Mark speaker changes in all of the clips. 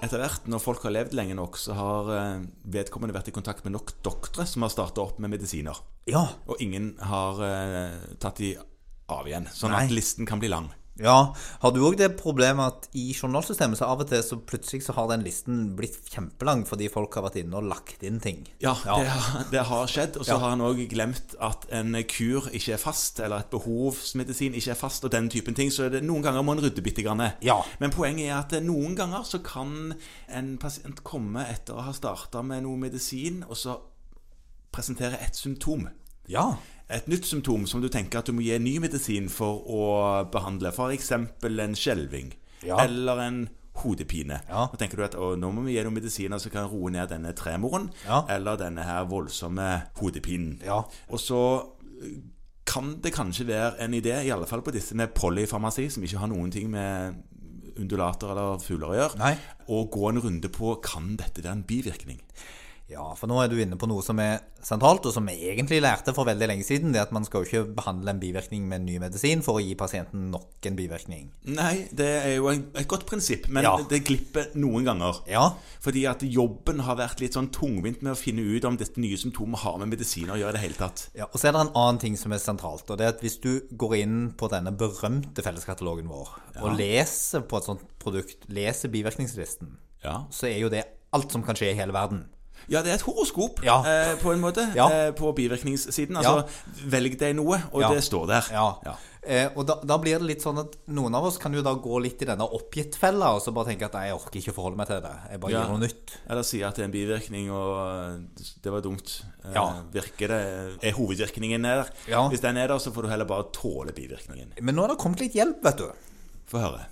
Speaker 1: etter hvert, når folk har levd lenge nok, så har eh, vedkommende vært i kontakt med nok doktorer som har starta opp med medisiner.
Speaker 2: Ja.
Speaker 1: Og ingen har eh, tatt de av igjen. Sånn
Speaker 2: Nei.
Speaker 1: at listen kan bli lang.
Speaker 2: ja. Har du òg det problemet at i journalsystemet så av og til så plutselig så har den listen blitt kjempelang fordi folk har vært inne og lagt inn ting?
Speaker 1: Ja, Det, har, det har skjedd. Og så
Speaker 2: Ja.
Speaker 1: har han òg glemt at en kur ikke er fast, eller et behovsmedisin ikke er fast, og den typen ting. Så det, noen ganger må en rydde bitte grann.
Speaker 2: Ja.
Speaker 1: Men poenget er at eh, noen ganger så kan en pasient komme etter å ha starta med noe medisin, og så presentere et symptom.
Speaker 2: Ja.
Speaker 1: Et nytt symptom som du tenker at du må gi ny medisin for å behandle. F.eks. en skjelving
Speaker 2: Ja.
Speaker 1: eller en hodepine.
Speaker 2: Ja.
Speaker 1: Da tenker du at å, nå må vi gi noen medisiner som kan roe ned denne tremoren
Speaker 2: Ja.
Speaker 1: eller denne her voldsomme hodepinen.
Speaker 2: Ja.
Speaker 1: Og så kan det kanskje være en idé, i alle fall på disse med polyfarmasi, som ikke har noen ting med undulater eller fugler å gjøre,
Speaker 2: Nei.
Speaker 1: å gå en runde på kan dette være en bivirkning.
Speaker 2: Ja, for nå er du inne på noe som er sentralt, og som vi egentlig lærte for veldig lenge siden. Det er at man skal jo ikke behandle en bivirkning med en ny medisin for å gi pasienten nok en bivirkning.
Speaker 1: Nei, det er jo en- et godt prinsipp, men
Speaker 2: Ja.
Speaker 1: det glipper noen ganger.
Speaker 2: Ja.
Speaker 1: Fordi at jobben har vært litt sånn tungvint med å finne ut om dette nye symptomet har med medisiner å gjøre i det hele tatt.
Speaker 2: ja. Og så er det en annen ting som er sentralt, og det er at hvis du går inn på denne berømte felleskatalogen vår og leser på et sånt produkt, leser bivirkningslisten,
Speaker 1: Ja,
Speaker 2: så er jo det alt som kan skje i hele verden.
Speaker 1: ja det er et horoskop
Speaker 2: Ja.
Speaker 1: eh, på en måte,
Speaker 2: Ja.
Speaker 1: eh, på bivirkningssiden. Altså, velg deg noe, og
Speaker 2: Ja.
Speaker 1: det står der.
Speaker 2: Ja.
Speaker 1: Ja.
Speaker 2: Eh, og da, da blir det litt sånn at noen av oss kan jo da gå litt i denne oppgitt-fella, og så bare tenke at nei, jeg orker ikke forholde meg til det. Jeg bare
Speaker 1: Ja.
Speaker 2: gjør noe nytt.
Speaker 1: Eller sier at det er en bivirkning, og eh, det var dumt. Eh,
Speaker 2: Ja.
Speaker 1: Virker det? eh, Er hovedvirkningen der?
Speaker 2: Ja.
Speaker 1: Hvis den er der, så får du heller bare tåle bivirkningen.
Speaker 2: Men nå er det kommet litt hjelp, vet du.
Speaker 1: Få høre.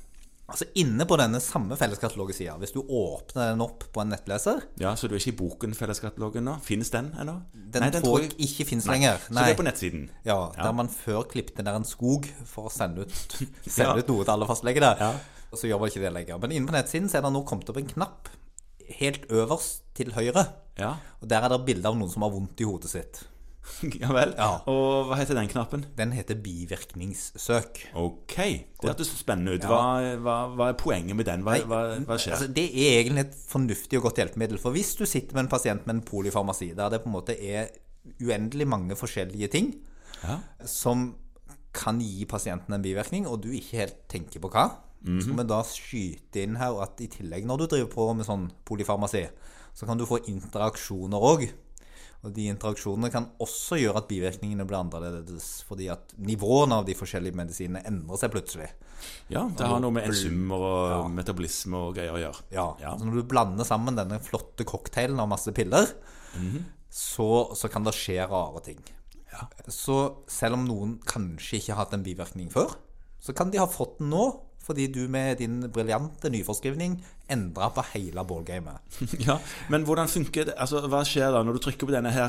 Speaker 2: Altså Inne på denne samme felleskatalogsida, hvis du åpner den opp på en nettleser
Speaker 1: Ja, Så du er ikke i boken Felleskatalogen nå? Finnes den ennå?
Speaker 2: Den tror jeg ikke fins lenger.
Speaker 1: Så det er på nettsiden?
Speaker 2: ja, Der man før klipte ned en skog for å sende ut, sende
Speaker 1: Ja.
Speaker 2: ut noe til alle fastleger der.
Speaker 1: Ja.
Speaker 2: Og så gjør man ikke det lenger. Men inne på nettsiden så er det nå kommet opp en knapp helt øverst til høyre.
Speaker 1: Ja.
Speaker 2: Og der er det bilde av noen som har vondt i hodet sitt.
Speaker 1: ja vel.
Speaker 2: Ja.
Speaker 1: Og hva heter den knappen?
Speaker 2: Den heter bivirkningssøk.
Speaker 1: Ok, det hørtes spennende ut. Hva, hva, hva er poenget med den? Hva, hva, hva skjer?
Speaker 2: Altså, det er egentlig et fornuftig og godt hjelpemiddel. For hvis du sitter med en pasient med en polyfarmasi, der det på en måte er uendelig mange forskjellige ting
Speaker 1: Ja.
Speaker 2: som kan gi pasienten en bivirkning, og du ikke helt tenker på hva,
Speaker 1: Mhm.
Speaker 2: så må vi da skyte inn her at i tillegg når du driver på med sånn polyfarmasi, så kan du få interaksjoner òg. Og de interaksjonene kan også gjøre at bivirkningene blir annerledes, fordi at nivåene av de forskjellige medisinene endrer seg plutselig.
Speaker 1: ja, det har noe med enzymer og metabolisme og greier å gjøre.
Speaker 2: Ja.
Speaker 1: Ja.
Speaker 2: Så når du blander sammen denne flotte cocktailen av masse piller, så, så kan det skje rare ting. Så selv om noen kanskje ikke har hatt en bivirkning før, så kan de ha fått den nå. Fordi du med din briljante nyforskrivning endra på hele ballgamet.
Speaker 1: Ja, Men hvordan funker det? Altså, Hva skjer da når du trykker på denne her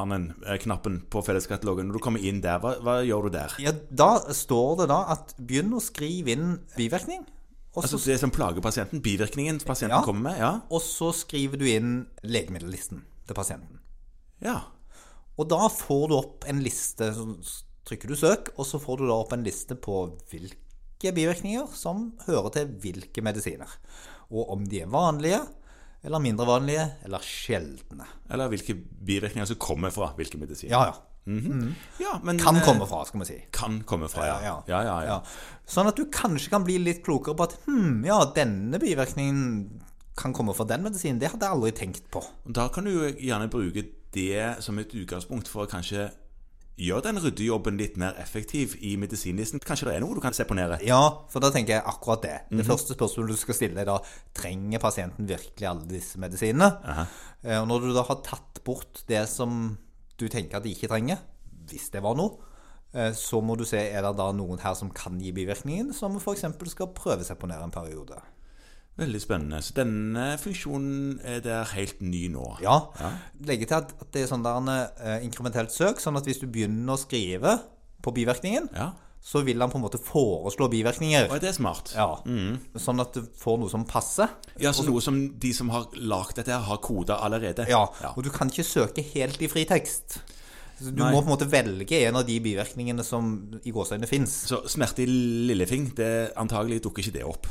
Speaker 1: hodepinemannen-knappen på felleskatalogen? Når du kommer inn der, hva, hva gjør du der?
Speaker 2: Ja, da står det da at begynn å skrive inn bivirkning. Og så,
Speaker 1: Altså Det som plager pasienten? Bivirkningen pasienten
Speaker 2: Ja.
Speaker 1: kommer med? Ja.
Speaker 2: og så skriver du inn legemiddellisten til pasienten.
Speaker 1: ja.
Speaker 2: Og da får du opp en liste, så trykker du søk, og så får du da opp en liste på hvilke bivirkninger som hører til hvilke medisiner. Og om de er vanlige, eller mindre vanlige, eller sjeldne.
Speaker 1: Eller hvilke bivirkninger som kommer fra hvilke medisiner.
Speaker 2: Ja, ja.
Speaker 1: Ja, men,
Speaker 2: Kan
Speaker 1: eh,
Speaker 2: komme fra, skal vi si.
Speaker 1: Kan komme fra, ja.
Speaker 2: Ja,
Speaker 1: ja, ja, ja.
Speaker 2: Ja. Sånn at du kanskje kan bli litt klokere på at hm, ja, denne bivirkningen kan komme fra den medisinen. Det hadde jeg aldri tenkt på.
Speaker 1: Og Da kan du jo gjerne bruke det som et utgangspunkt for å kanskje gjøre den ryddejobben litt mer effektiv i medisinlisten. Kanskje det er noe du kan seponere?
Speaker 2: Ja, for da tenker jeg akkurat det. Det første spørsmålet du skal stille er da trenger pasienten virkelig alle disse medisinene. Eh, Og når du da har tatt bort det som du tenker at de ikke trenger, hvis det var noe, eh, så må du se er det da noen her som kan gi bivirkningen, som f.eks. skal prøveseponere en periode.
Speaker 1: Veldig spennende. Så denne funksjonen er der helt ny nå.
Speaker 2: Ja. Legge til at at det er sånn der en eh, inkrementelt søk, sånn at hvis du begynner å skrive på bivirkningen,
Speaker 1: Ja.
Speaker 2: så vil han på en måte foreslå bivirkninger.
Speaker 1: Og er det smart?
Speaker 2: Ja. Sånn at du får noe som passer.
Speaker 1: Ja, så noe som de som har lagd dette, her har koda allerede?
Speaker 2: Ja, og du kan ikke søke helt i fritekst. Så Du
Speaker 1: Nei.
Speaker 2: må på en måte velge en av de bivirkningene som i gåseøynene fins.
Speaker 1: Så smerte i lillefing, det antagelig dukker ikke det opp.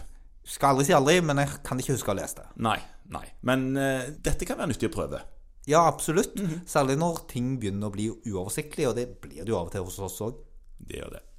Speaker 2: Skal aldri si aldri, men jeg kan ikke huske å ha lest det.
Speaker 1: Nei. nei. Men eh, dette kan være nyttig å prøve.
Speaker 2: Ja, absolutt. Særlig når ting begynner å bli uoversiktlig, og det blir det jo av og til hos oss òg.
Speaker 1: Det gjør det.